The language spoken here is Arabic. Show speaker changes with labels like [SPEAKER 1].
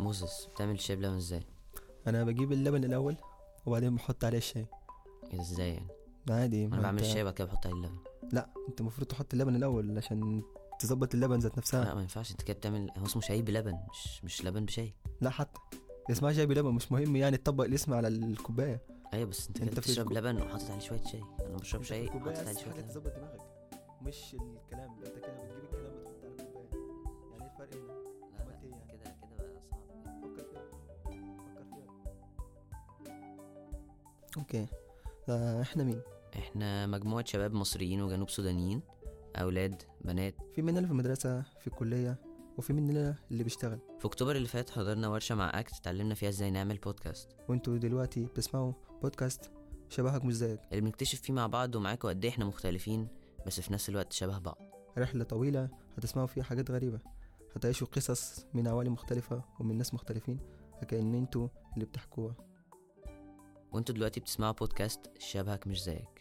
[SPEAKER 1] موزس بتعمل الشاي بلبن ازاي
[SPEAKER 2] انا بجيب اللبن الاول وبعدين بحط عليه الشاي
[SPEAKER 1] إيه ازاي يعني
[SPEAKER 2] عادي ما
[SPEAKER 1] انا بعمل
[SPEAKER 2] أنت-
[SPEAKER 1] الشاي بعد كده بحط عليه اللبن
[SPEAKER 2] لا انت المفروض تحط اللبن الاول عشان تظبط اللبن ذات نفسها
[SPEAKER 1] لا ما ينفعش انت كده بتعمل هو اسمه شاي بلبن مش مش لبن بشاي
[SPEAKER 2] لا حتى اسمها شاي بلبن مش مهم يعني تطبق الاسم على الكوبايه
[SPEAKER 1] ايوه بس انت
[SPEAKER 2] أنت
[SPEAKER 1] كده
[SPEAKER 2] في
[SPEAKER 1] بتشرب
[SPEAKER 2] الكو-
[SPEAKER 1] لبن وحاطط عليه شويه شاي انا بشرب
[SPEAKER 2] أنت
[SPEAKER 1] شاي
[SPEAKER 2] الكوبايه
[SPEAKER 1] وحاطط عليه
[SPEAKER 2] عايز
[SPEAKER 1] شويه
[SPEAKER 2] حاجه
[SPEAKER 1] لبن
[SPEAKER 2] تظبط دماغك مش الكلام انت كده بتجيب الكلام وتحط على الكوبايه يعني ايه الفرق هنا
[SPEAKER 1] لا لا
[SPEAKER 2] عملت إيه يعني؟
[SPEAKER 1] كده كده بقى صعب
[SPEAKER 2] فكر فيها فكر فيها اوكي آه احنا مين
[SPEAKER 1] احنا مجموعه شباب مصريين وجنوب سودانيين اولاد بنات
[SPEAKER 2] في مننا في المدرسه في الكليه وفي مننا اللي بيشتغل
[SPEAKER 1] في اكتوبر اللي فات حضرنا ورشه مع اكت اتعلمنا فيها ازاي نعمل بودكاست
[SPEAKER 2] وانتوا دلوقتي بتسمعوا بودكاست شبهك مش زيك
[SPEAKER 1] اللي بنكتشف فيه مع بعض ومعاكم قد ايه احنا مختلفين بس في نفس الوقت شبه بعض
[SPEAKER 2] رحلة طويلة هتسمعوا فيها حاجات غريبة هتعيشوا قصص من عوالم مختلفة ومن ناس مختلفين كأن انتوا اللي بتحكوها
[SPEAKER 1] وانتوا دلوقتي بتسمعوا بودكاست شبهك مش زيك